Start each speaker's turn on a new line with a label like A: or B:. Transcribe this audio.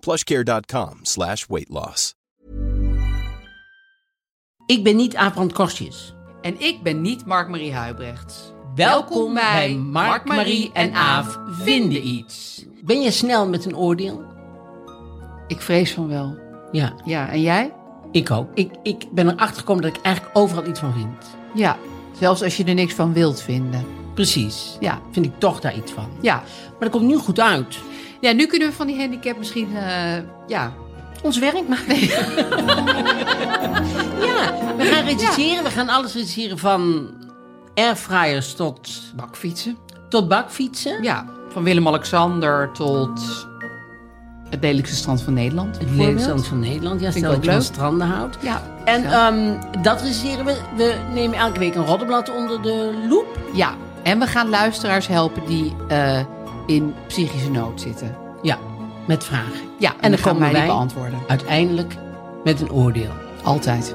A: plushcare.com slash weight loss.
B: Ik ben niet Abrand Korsjes.
C: En ik ben niet Mark-Marie Huibrechts.
B: Welkom bij Mark, Marie en Aaf vinden iets. Ben je snel met een oordeel?
C: Ik vrees van wel.
B: Ja,
C: Ja, en jij?
B: ik ook. Ik, ik ben erachter gekomen dat ik eigenlijk overal iets van vind.
C: Ja, zelfs als je er niks van wilt vinden.
B: Precies.
C: Ja.
B: Vind ik toch daar iets van.
C: Ja,
B: Maar dat komt nu goed uit.
C: ja nu kunnen we van die handicap misschien, eh, ja...
B: Ons werk maar. ja, we gaan recenseren. We gaan alles recenseren van airfryers tot,
C: Bakfietsen.
B: tot bakfietsen.
C: Ja, van Willem-Alexander tot het lelijkste strand van Nederland.
B: Het
C: bijvoorbeeld.
B: Nederland van Nederland. Ja,
C: Vind ik
B: stel dat
C: ook
B: je van
C: leuk.
B: stranden houdt.
C: Ja.
B: En
C: zo.
B: ehm, dat recenseren we. We nemen elke week een roddenblad onder de loep.
C: ja, en we gaan luisteraars helpen die eh, in psychische nood zitten.
B: Ja, met vragen.
C: Ja, en,
B: dan
C: dan gaan
B: komen
C: wij die
B: wij-
C: beantwoorden.
B: Uiteindelijk met een oordeel.
C: Altijd.